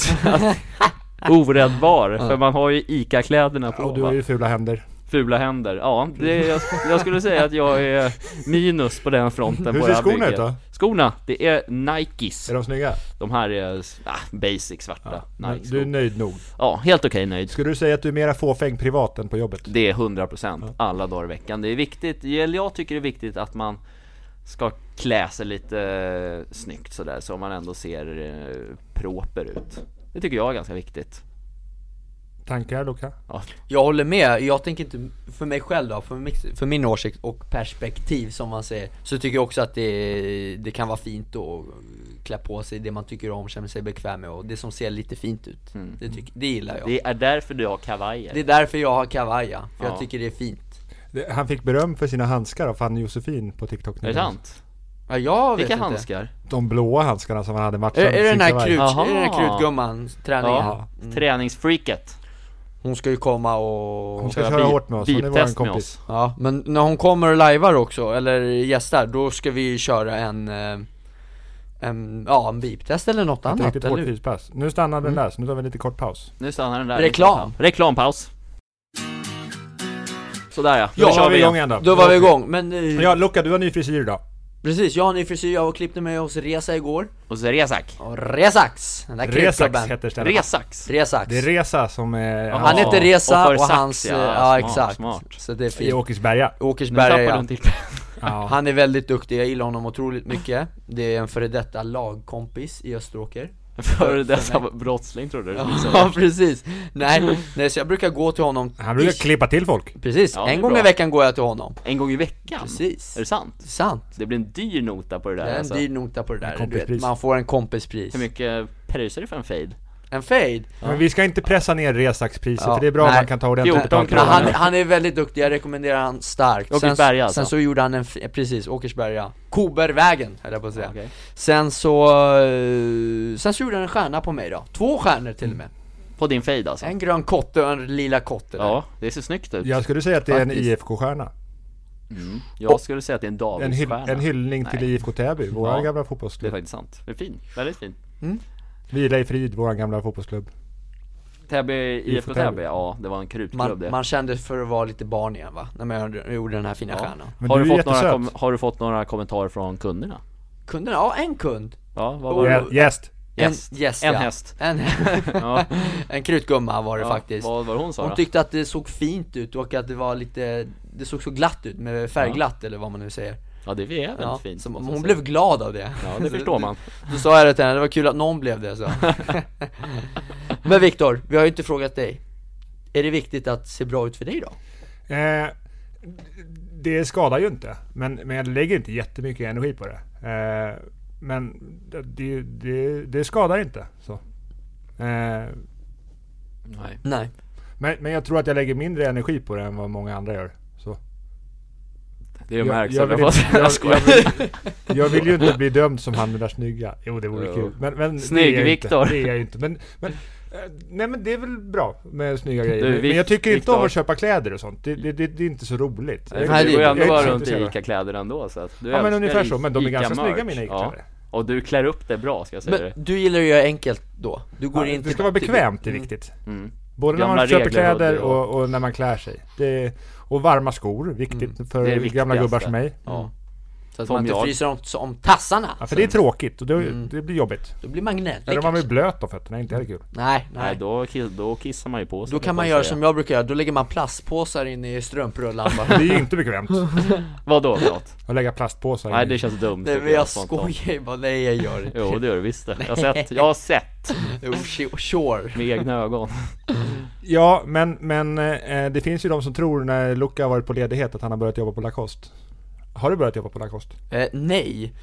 Oräddbar, för man har ju ICA-kläderna på Och du har va? ju fula händer. Fula händer, ja det, jag, jag skulle säga att jag är minus på den fronten på Hur det ser här skorna bygget. ut då? Skorna, det är Nikes Är de snygga? De här är, ah, basic svarta Men Nike Du är nöjd nog. Ja, helt okej nöjd Skulle du säga att du är mera fåfäng privat än på jobbet? Det är 100% alla dagar i veckan. Det är viktigt, eller jag tycker det är viktigt att man ska klä sig lite eh, snyggt sådär så man ändå ser eh, proper ut. Det tycker jag är ganska viktigt. Tankar Luka? Ja, Jag håller med, jag tänker inte, för mig själv då, för, mix, för min åsikt och perspektiv som man säger Så tycker jag också att det, det kan vara fint att klä på sig det man tycker om, känner sig bekväm med och det som ser lite fint ut det, tycker, det gillar jag Mm. det är därför du har kavajer. Det är därför jag har kavaja, för Ja. jag tycker det är fint Det- Han fick beröm för sina handskar av Fanny Josefin på TikTok är det sant? Ja jag vet Vilka inte handskar? De blåa handskarna som han hade i matchen Är, är det den här krut, Jaha. är det den här krutgumman, träningen? Mm. Ja, träningsfreaket. Hon ska ju komma och... Hon ska köra hårt med oss, hon är vår Biptest med kompis oss. Ja, men när hon kommer och lajvar också, eller gästar, då ska vi ju köra en, eh, en ja en beep-test eller något Ett annat, riktigt eller hårt hur? fyspass. Nu stannar den där, så nu tar vi en lite kort paus Nu stannar den där. Reklam. Reklampaus. Sådär ja, Då kör vi igång igen då Då var vi igång, men eh, Ja Luka, du har ny frisyr idag precis, jag har en ny frisyr, jag klippte mig hos Resa igår Och så är Resak. Och Resax, den där Resax kryddgubben heter stället Resax. Resax Det är Resa som är Jaha. Han heter Resa Och för och, sax, hans, eh, ja. ja, Smart, ja exakt smart. Så det är i fint Åkersberga Nu tappade Åkersberga ja. ja. den till ja. Han är väldigt duktig, jag gillar honom otroligt mycket Det är en före detta lagkompis i Österåker Före dessa brottsling tror du du skulle säga. Ja precis, nej, nej så jag brukar gå till honom Han brukar ish. klippa till folk Precis, Ja, det är en gång bra. i veckan går jag till honom En gång i veckan? Precis. Är det sant? Sant Det blir en dyr nota på det Det där är en alltså. dyr nota på det där, du kompispris. vet, man får en kompispris Hur mycket pröjsar du för en fade? En fade? Men vi ska inte pressa ner Resax-priset Ja. för det är bra om Nej. man kan ta ordentligt 14 betalt för Men han, det. han är väldigt duktig, jag rekommenderar han starkt Åkersberga sen, alltså? sen så gjorde han en, f- eh, precis, Åkersberga Kobervägen höll jag på att säga Okej. Sen så, eh, sen så gjorde han en stjärna på mig då, två stjärnor till och med På din fade alltså? En grön kotte och en lila kotte där. Mm. Ja, det ser snyggt ut. Jag skulle säga att det är en Faktiskt. IFK-stjärna Jag skulle säga att det är en En, hyll, davidsstjärna en hyllning till IFK Täby, vår Ja. gamla Det är fotbollsklubb faktiskt sant. Det är fin. Väldigt fin. Vila i frid, vår gamla fotbollsklubb Täby, IFK Täby, Täby. ja det var en krutgrupp man, det. man kände för att vara lite barn igen va, när man gjorde- gjorde den här fina ja. stjärnan Men har, du du är fått några jättesöt. kom, har du fått några kommentarer från kunderna? Kunderna, ja en kund Ja, vad Och- var det? Gä- Gäst! Gäst. En, gäst, En ja. häst. En, Ja. en krutgumma var det Ja, faktiskt Vad var det hon sa Hon då? tyckte att det såg fint ut och att det var lite, det såg så glatt ut med färgglatt eller vad man nu säger Ja det är väldigt ja, fint. så måste jag Hon säga. blev glad av det Ja det Så förstår man. Då sa jag det till henne, det var kul att någon blev det så Men Viktor, vi har ju inte frågat dig Är det viktigt att se bra ut för dig då? Eh, det skadar ju inte, men, men jag lägger inte jättemycket energi på det. Eh, men det, det, det skadar inte. Så. Eh, Nej. Nej men, men jag tror att jag lägger mindre energi på det än vad många andra gör. Så. Det Jag- märks, jag jag, vill jag, jag, inte- jag- jag skojar. Jag vill ju inte bli dömd som han den där snygga. Jo, det vore Jo. kul. Men, men det Snygg är jag inte. Viktor. Det är jag ju inte. Men, men, eh, nej, men det är väl bra med snygga grejer. Du, Men- men Vik- jag tycker inte om Viktor. att köpa kläder och sånt. Det, det, det, det är inte så roligt. Nej, Jag- för Nej, du det- går ju jag ändå är bara inte runt i intresserad. ICA-kläder ändå så att du Ja, men älskar ungefär i- så, men de är ganska Ica-merch. snygga, mina Ica-kläder. Ja. Och du klär upp det bra ska jag säga dig. Men du gillar ju att göra enkelt då, du går Ja, in det till- ska vara till- bekvämt, det är viktigt. Mm. Både när Gamla man köper regler och kläder det och, och- och när man klär sig. Det, och varma skor, viktigt för Mm. Det är det gamla gubbar viktigaste. som mig. Ja. Så att Som man inte jag. fryser om, om tassarna, Ja, för det är tråkigt och det, Mm. det blir jobbigt. då blir man gnällig Eller om man blir kanske. blöt om fötterna, inte heller kul. Nej, Nej nej då, kiss, då kissar man ju på sig Då kan man göra som jag brukar göra, då lägger man plastpåsar in i strumprullan bara Det är ju inte bekvämt Vadå för något? att lägga plastpåsar Nej i. det känns dumt Nej tycker men jag spontant. skojar ju bara, nej jag gör det Jo det gör du visst det. Jag har sett, jag har sett Jo, shi- Oh, Sure med egna ögon Ja, men, men eh, det finns ju de som tror när Luca har varit på ledighet att han har börjat jobba på Lacoste. Har du börjat jobba på Lacoste? eh, Nej,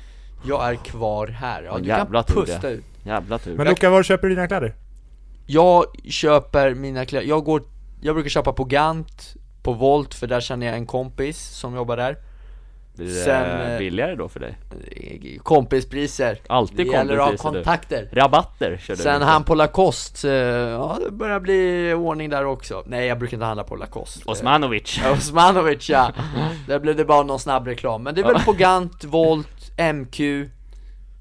jag är kvar här, ja, Vad du jävla kan tur pusta det. ut Jävla tur Men Luca, var köper du dina kläder? Jag köper mina kläder, jag går, jag brukar köpa på Gant, på Volt för där känner jag en kompis som jobbar där Blir Sen, det eh, billigare då för dig? Kompispriser Alltid Det gäller att ha kompispriser, du. kontakter Rabatter körde Sen du. han på Lacoste, eh, ja det börjar bli ordning där också Nej jag brukar inte handla på Lacoste Eh, Osmanovic Ja, Osmanovic ja, där blev det bara någon snabb reklam Men det är väl Pogant, Volt, MQ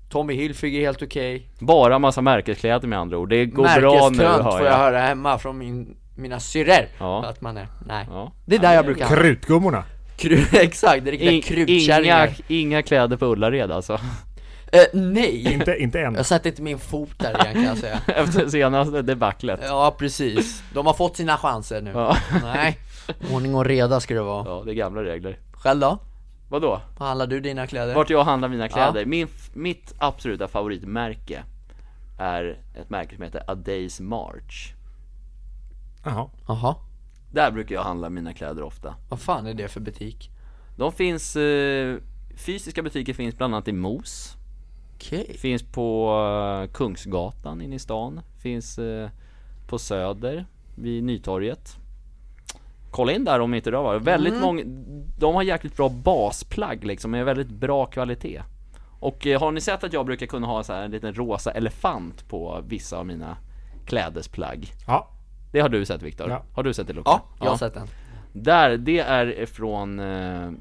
Tommy Hilfiger är helt okej Bara massa märkeskläder med andra ord, det går bra nu Märkeskönt hör får jag, jag höra hemma från min, mina syrror Ja. Att man är, nej Ja. Det är där jag brukar handla Krutgummorna! Kru- Exakt, det är riktiga In, inga, krutkärringar inga kläder på Ullared alltså eh, Nej! Inte, inte än. Jag satte inte min fot där igen kan jag säga Efter senaste debaclet Ja precis, de har fått sina chanser nu ja. Nej, ordning och reda ska det vara ja, det är gamla regler Själv då? Vadå? Vad handlar du dina kläder? Vart jag handlar mina kläder? Min, mitt absoluta favoritmärke är ett märke som heter A Day's March Jaha. Jaha, Där brukar jag handla mina kläder ofta vad fan är det för butik? De finns, eh, fysiska butiker finns bland annat i Mos Okej Finns på eh, Kungsgatan inne i stan. Finns eh, på Söder vid Nytorget. Kolla in där om inte det var. Väldigt Mm. många, de har jäkligt bra basplagg liksom, med väldigt bra kvalitet. Och eh, har ni sett att jag brukar kunna ha så här en liten rosa elefant på vissa av mina klädesplagg? Ja. Det har du sett Viktor? Ja. Har du sett det Luca? Ja, jag har sett den Där, det är från eh,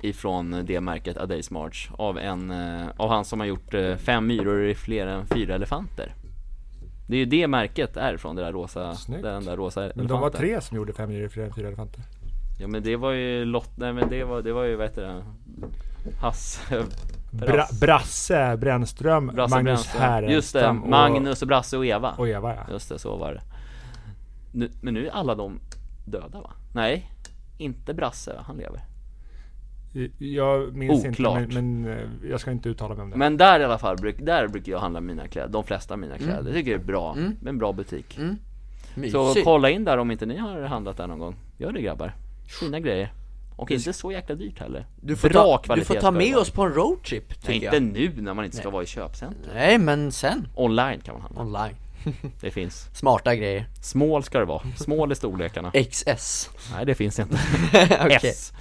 Ifrån det märket A Day's March Av en, eh, av han som har gjort eh, fem myror i fler än fyra elefanter Det är ju det märket är från, det där rosa, Snyggt. den där rosa Men elefanten de var tre som gjorde fem djur i fyra fyra elefanter. Ja men det var ju Lott, nej men det var, det var ju vad heter det? Hasse, Bra, Brasse Brännström, Brasse Magnus Brännström. Härenstam Just det, och- Magnus och Brasse och Eva och Eva ja. Just det, så var det nu, Men nu är alla de döda va? Nej, inte Brasse va? han lever Jag minns Oklart. inte men, men eh, jag ska inte uttala mig om det. Men där i alla fall, bruk- där brukar jag handla mina kläder, de flesta av Mm. mina kläder. Jag tycker det är bra, det är en bra butik. Så Mysigt kolla in där om inte ni har handlat där någon gång. Gör det grabbar. Fina grejer. Och Mm. inte så jäkla dyrt heller. du får, bra ta, du får ta med oss på en roadtrip tycker Nej, inte jag nu när man inte ska vara i köpcentrum. Nej men sen, Online kan man handla. online Det finns. Smarta grejer, Small ska det vara. Small i storlekarna. XS Nej, det finns inte. Okej. S.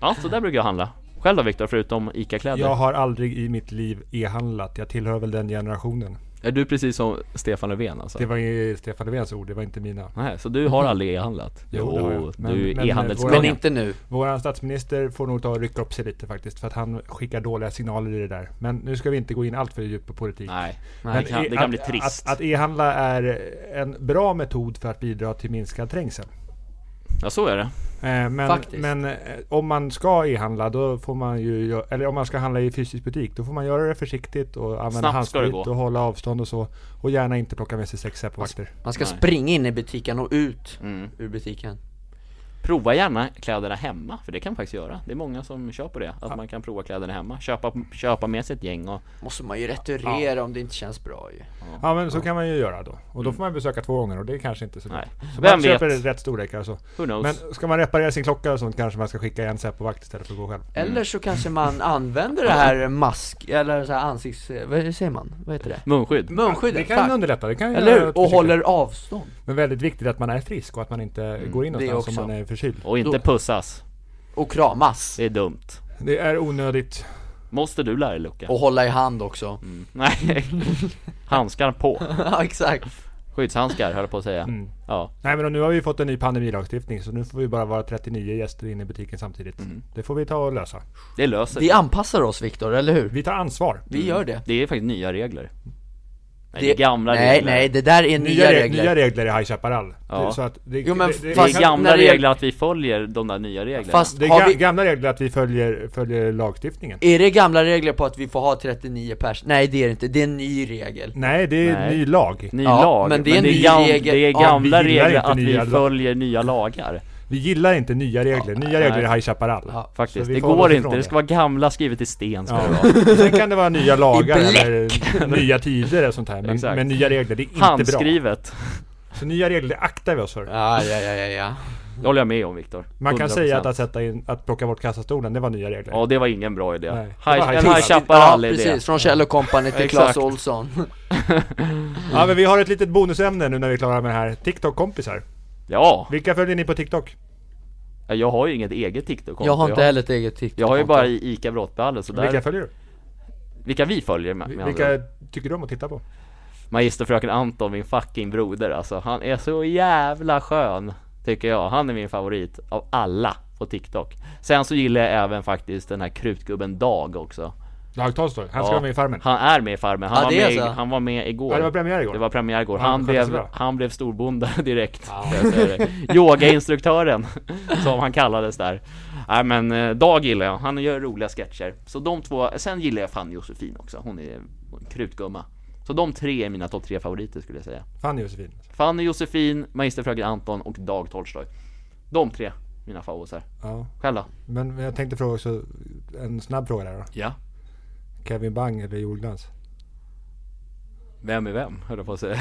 Ja, så där brukar jag handla. Själv då Viktor, förutom ICA-kläder? Jag har aldrig i mitt liv e-handlat. Jag tillhör väl den generationen. Är du precis som Stefan Löfven alltså? Det var ju Stefan Löfvens ord, det var inte mina. Nej, så du har aldrig e-handlat? Jo, det har jag. Men- du är men- Men Våra- e-handelskungen inte nu Vår statsminister får nog ta och rycka upp sig lite faktiskt, för att han skickar dåliga signaler i det där. Men nu ska vi inte gå in allt för djupt på politik. Nej, Men det kan, e- det kan att- bli trist Att, att e-handla är en bra metod för att bidra till minskad trängsel. Ja så är det Eh, Men, Faktiskt. men eh, om man ska e-handla då får man ju, gö- eller om man ska handla i fysisk butik, då får man göra det försiktigt och använda Snabbt ska det handsprit gå. och hålla avstånd och så. Och gärna inte plocka med sig sex Säpo-vakter. Man ska Nej. springa in i butiken och ut Mm. ur butiken Prova gärna kläderna hemma, för det kan man faktiskt göra Det är många som kör på det, att man kan prova kläderna hemma Köpa, köpa med sig ett gäng och Måste man ju returera om det inte känns bra ju Ja men så kan man ju göra då. Och då får man besöka två gånger och det är kanske inte så bra. Nej. Så Vem man köper vet? rätt storlekar och så. who knows Men ska man reparera sin klocka och sånt kanske man ska skicka en Säpo-vakt istället för att gå själv. Eller så kanske man använder det här mask, eller så här ansikts... Vad säger man? Vad heter det? Munskydd Det Munskyddet, kan ju tack! underlätta. Det kan ju Eller göra hur? att Och försiktigt. håller avstånd Men väldigt viktigt att man är frisk och att man inte går in det någonstans om också. man är förkyld. Och inte Då- pussas, och kramas det är dumt Det är onödigt. Måste du lära dig Luca? Och hålla i hand också Mm. Nej Handskar på, Ja exakt! skyddshandskar höll jag på att säga Mm. Ja, Nej men nu har vi fått en ny pandemilagstiftning så nu får vi bara vara 39 gäster inne i butiken samtidigt. Mm. Det får vi ta och lösa. det löser Vi anpassar oss Viktor, eller hur? Vi tar ansvar. Vi gör det Det är faktiskt nya regler Nej, det är gamla nej, regler Nej, det där är nya, re- regler nya regler i High Chaparral. Ja. Det, så att det, Jo, men det, det, Det är Fast gamla när det- regler att vi följer de där nya reglerna Fast det är har ga- vi, gamla regler att vi följer, följer lagstiftningen. är det gamla regler på att vi får ha 39 pers? Nej det är det inte, det är en ny regel Nej, det är Nej. ny lag. Ny Ja, lag, men det är en ny gam- regel. det är Ja, gamla vi gillar regler inte att vi nya lag. följer nya lagar Vi gillar inte nya regler. Nya regler i nej. High Chaparral. Ja, Faktiskt, Så vi det får hålla oss går ifrån inte, det ska vara gamla skrivet i sten ska Ja. det vara. Sen kan det vara nya lagar I bläck. eller nya tider och sånt här. Men, Exakt. men nya regler, det är inte bra. Handskrivet, Så nya regler aktar vi oss för. Ja, ja, ja, ja, ja. det håller jag med om Viktor Man kan 100%. säga att, att, sätta in, att plocka bort kassastolen, det var nya regler. Ja det var ingen bra idé, Nej. High- Det var High en Chaparral. High Chaparral ja, idé precis, från Kjell och Company till Exakt. Clas Ohlson Ja men vi har ett litet bonusämne nu när vi är klara med det här. TikTok-kompisar. Ja, Vilka följer ni på TikTok? Ja, Jag har ju inget eget TikTok-konto Jag har inte heller ett eget TikTok jag har ju bara i ICA Brottbehandlet så där, Vilka vilka, följer du? vi följer med, med andra ord. Vilka tycker du om att titta på? Magisterfröken Anton, min fucking broder alltså. Han är så jävla skön, tycker jag. Han är min favorit av alla på TikTok. Sen så gillar jag även faktiskt den här krutgubben Dag också. Dag Tolstoj, han ska Ja, vara med i Farmen. Han är alltså- med i Farmen, han, Ja, var, det är med, så. han var med igår. Ja, det var premiär igår. Det var premiär igår. Ja, Han, skötte sig blev, bra. han blev storbonde direkt. ska jag säga det. Yogainstruktören, som han kallades där. Nej men eh, Dag gillar jag, han gör roliga sketcher. Så de två, sen gillar jag fan Josefin också, hon är en krutgumma. Så de tre är mina topp tre favoriter skulle jag säga. Fan Josefin. Fanny Josefin, Magisterfröken Anton och Dag Tolstoj. De tre, mina favoriter. Ja. Själv då? Men jag tänkte fråga också, en snabb fråga där då. Ja. Kevin Bang eller Joel Glans? Vem är vem, höll jag på att säga.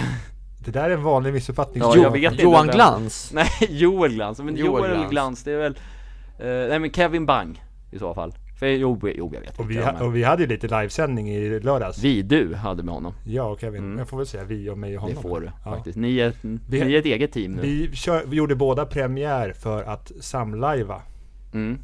Det där är en vanlig missuppfattning. Ja, Jo, jag vet inte Johan vem. Glans? Nej, Joel Glans. Men Joel, Joel Glans. Glans. det är väl... eh, nej men Kevin Bang i så fall. För eh, jo, jo jag vet Och vi, inte. ha, men- och vi hade ju lite livesändning i lördags. Vi, du, hade med honom. Jag och Kevin. Jag får väl säga vi och mig och Det honom. får du Ja. faktiskt. Ni är, ett- Vi- ni är ett eget team nu. Vi, kör, vi gjorde båda premiär för att samlajva. Mm.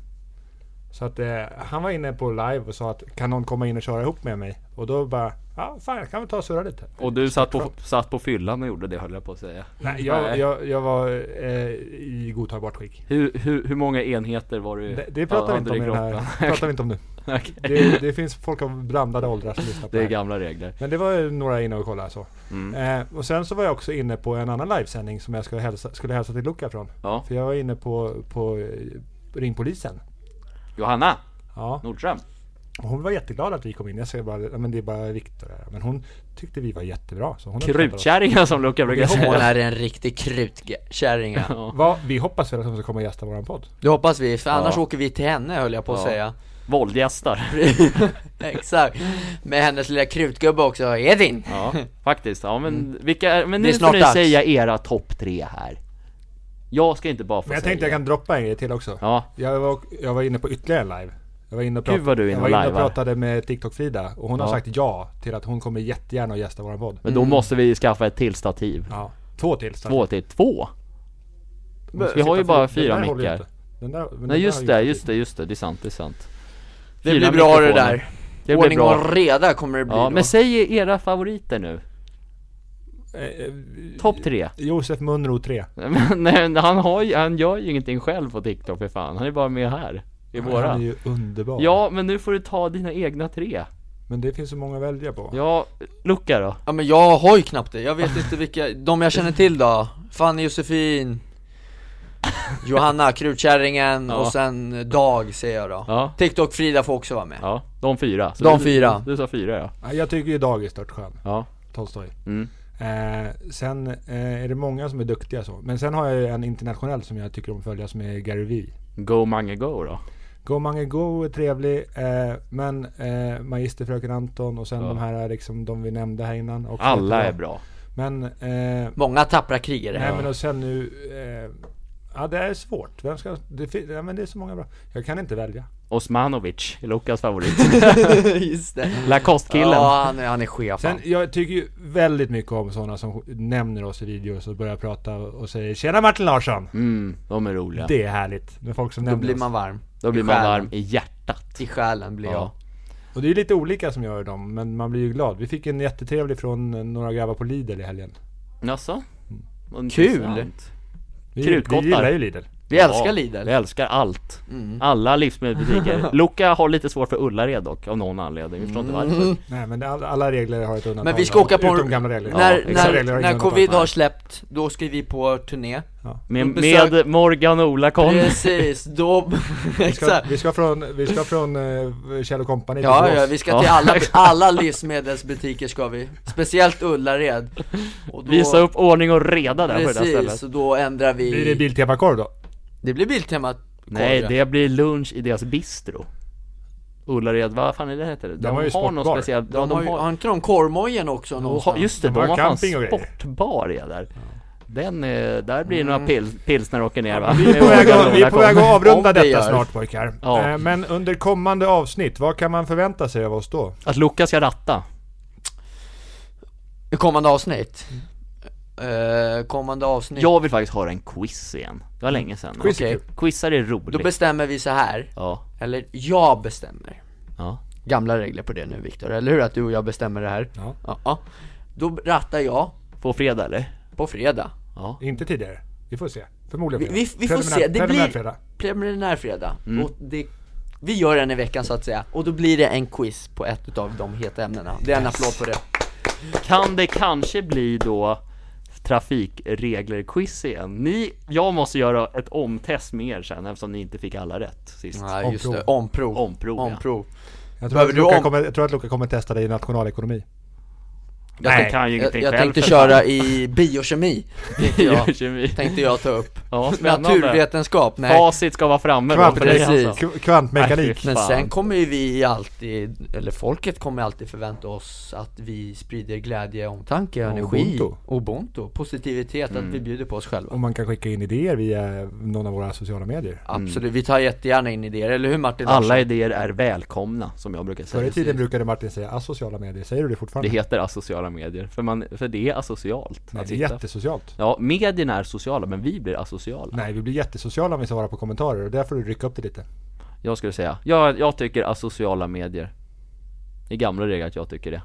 Så att eh, han var inne på live och sa att kan någon komma in och köra ihop med mig? Och då bara, ja fan jag kan väl ta och surra lite. Och du satt på, satt på fyllan och gjorde det höll jag på att säga. Nej, jag, Nej. jag, jag var eh, i godtagbart skick. Hur, hur, hur många enheter var du Det, det pratar vi inte om i den här, pratar vi inte om nu. Okej. Det, det finns folk av blandade åldrar som lyssnar på Det det är Mm. här. gamla regler. Men det var ju några inne och kollade så. Eh, och sen så var jag också inne på en annan livesändning som jag skulle hälsa, skulle hälsa till Luca från. Ja. För jag var inne på, på eh, ringpolisen. Johanna Ja, Nordström. och hon var jätteglad att vi kom in. Jag säger bara, "Ja, men det är bara Viktor här. Men hon tyckte vi var jättebra. Så hon uppskattade oss. Krutkärringar som Luca brukar Hon säga. är en riktig krutkärringa Va, vi hoppas väl att hon ska komma och gästa våran podd. Det hoppas vi, för annars Ja. åker vi till henne höll jag på att Ja. säga Våldgästar. Exakt, med hennes lilla krutgubbe också, Edvin! Ja, faktiskt. Ja, men vilka, men Mm. Det nu är får snart ni dags. säga era topp tre här. Jag ska inte bara få Men jag säga. tänkte jag kan droppa en grej till också. Alltså, Ja, Jag, var, jag var inne på ytterligare en live. Jag var inne och, Gud, vad du är inne jag och var inne och lajvar. pratade med TikTok-Frida. Och hon Ja. har sagt ja till att hon kommer jättegärna och gästa våran podd. men Mm. då måste vi skaffa ett till stativ. Ja, två till. så att- Två till två? Man ska Vi har ju sitta- bara den fyra där håller ju mickar. inte. Den där, men den där Nej just har det, ju- just det, just det. Det är sant, det är sant. Det Fyra blir bra det mikrofoner. där, Det blir ordning bra. och reda kommer det bli Ja, då. men säg era favoriter nu. Eh, eh, Topp tre. Josef Munro 3. Mm. Men nej, han, har ju, han gör ju ingenting själv på TikTok för fan. Han är bara med här. I Han är våra. ju underbar. Ja, men nu får du ta dina egna tre. Men det finns så många att välja på. Ja, Luca då? Ja men jag har ju knappt det, jag vet inte vilka, de jag känner till då, Fanny Josefin Johanna, krutkärringen Ja. och sen Dag säger jag då Ja. TikTok Frida får också vara med Ja, de fyra. Så De du, fyra. Du, sa fyra ja. Ja, Jag tycker ju Dag är stört skön. Ja. Tolstoj. Mm. Eh, sen eh, är det många som är duktiga så. Men sen har jag ju en internationell som jag tycker om att följa som är Gary Vee. Go Mange Go då. Go Mange Go är trevlig, eh, men eh, Magisterfröken Anton och sen Ja. de här liksom, de vi nämnde här innan. Också Alla jättebra. är bra. Men, eh, Många tappra krigare nej men och sen nu, eh, ja det är svårt. Vem ska, det, fin- ja, men det är så många bra. Jag kan inte välja. Osmanovic, är Lukas favorit. Just det Lacoste-killen. Ja han är, han är chef Sen, han. jag tycker ju väldigt mycket om sådana som nämner oss i videos och börjar prata och säger Tjena Martin Larsson! Mm, de är roliga. Det är härligt med folk som Då nämner blir oss. man varm Då blir I man själen. varm i hjärtat. I själen blir jag Ja. Och det är ju lite olika som gör dem, men man blir ju glad. Vi fick en jättetrevlig från eh, några grabbar på Lidl i helgen. Jaså? Vad Kul. intressant. Vi, Krutgottar. vi gillar ju Lidl. Vi älskar Lidl. Mm. Vi älskar allt. Alla livsmedelsbutiker. Luca har lite svårt för Ullared dock, av någon anledning. Vi förstår inte Mm. varför. Nej men all- alla regler har ett undantag. Men vi ska åka på Utom gamla regler. När, Vissa när, regler har när inga covid undantag. har släppt, då ska vi på turné Med, besök- med Morgan och ola Conny. Precis, då, Vi ska, exakt vi ska från, vi ska från eh, Kjell Company till Ja, Borås. ja, vi ska till Ja, alla, exakt. alla livsmedelsbutiker ska vi, speciellt Ullared och då, Visa upp ordning och reda där på det där Precis, stället. och då ändrar Blir det vi Biltemakorv då? Det blir Biltema Nej, det blir lunch i deras bistro. Ullared, vad fan är det heter? De, har ju någon sportbar. speciell... ja, de har, ju- har inte de korvmojen också Och någonstans? ha, just det, de, De har har fan camping och grejer. sportbar ja, där. Den, eh, där blir det några pil, pilsner åker ner va? Vi är på väg att, vi är på väg att avrunda Om det detta gör. snart pojkar. Ja. Eh, Men under kommande avsnitt, vad kan man förvänta sig av oss då? Att Luca ska ratta. I kommande avsnitt Mm. eh, kommande avsnitt. Jag vill faktiskt höra en quiz igen. Det var länge sedan. Quiz Okej. är kul. Quizar är Då roligt. bestämmer vi så här, ja, eller jag bestämmer. ja. Gamla regler på det nu Viktor, eller hur? Att du och jag bestämmer det här. Ja. ja, ja. Då rattar jag På fredag eller? på fredag. Ja. Inte tidigare. Vi får se. Förmodligen Vi, fredag. vi, vi får Preliminär- se, det preliminär blir fredag. preliminär fredag. Mm. Och det, vi gör en i veckan så att säga, och då blir det en quiz på ett utav de heta ämnena. Det är en applåd på det. Kan det kanske bli då trafikregler-quiz igen? Ni, jag måste göra ett omtest med er sen eftersom ni inte fick alla rätt sist. Ja, just det. Omprov. Omprov. Omprov, ja. Omprov. Jag tror, Behöver att du Luca om- kommer, jag tror att Luca kommer testa dig i nationalekonomi. Jag Nej, kan ju Jag, ingenting jag själv tänkte för köra fan. i biokemi, tänkte jag, Biokemi. tänkte jag ta upp. Ja, spännande. Naturvetenskap, nej. Facit ska vara framme då för dig Precis. alltså. K- kvantmekanik. Nej, Men Fan. sen kommer ju vi alltid, eller folket kommer alltid förvänta oss att vi sprider glädje, omtanke, Och energi, ubuntu. ubuntu, positivitet, Mm. att vi bjuder på oss själva. Och man kan skicka in idéer via någon av våra sociala medier. Absolut, vi tar jättegärna in idéer, eller hur Martin Larsson? Alla idéer är välkomna, som jag brukar Förr i säga. tiden brukade Martin säga asociala medier. Säger du det Det fortfarande? heter asociala medier, för, man, för det är asocialt Nej, att det är titta. jättesocialt. Ja, medierna är sociala, men vi blir asociala. Nej, vi blir jättesociala om vi svarar på kommentarer och där får du rycka upp det lite. Jag skulle säga, jag, jag tycker asociala medier Det är gamla regler att jag tycker det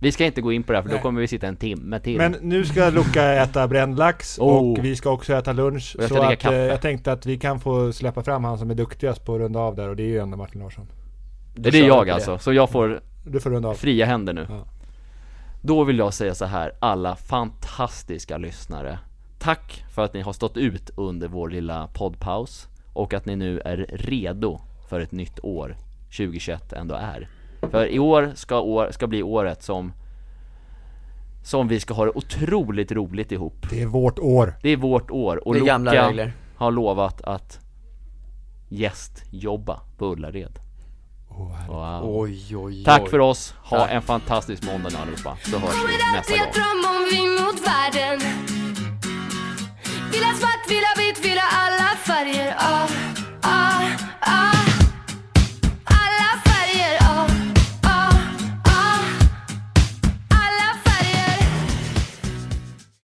Vi ska inte gå in på det här för Nej. då kommer vi sitta en timme till Men nu ska Luca äta bränd lax Oh. och vi ska också äta lunch. Och jag ska så dricka att, eh, kaffe. jag tänkte att vi kan få släppa fram han som är duktigast på att runda av där och det är ju ändå Martin Larsson. Det är jag alltså, så jag får Du får runda av. fria händer nu Ja. Då vill jag säga så här, alla fantastiska lyssnare Tack för att ni har stått ut under vår lilla poddpaus Och att ni nu är redo för ett nytt år 2021 ändå är För i år ska, år, ska bli året som Som vi ska ha det otroligt roligt ihop Det är vårt år. Det är vårt år och Det är Luka gamla regler. har lovat att gästjobba på Ullared. Åh, herregud. Wow. Oj, oj, oj. Tack för oss, ha Tack. en fantastisk måndag nu allihopa, så hörs Kommer vi nästa alltid gång. att drömma om vi mot världen Vill ha svart, Ah, ah,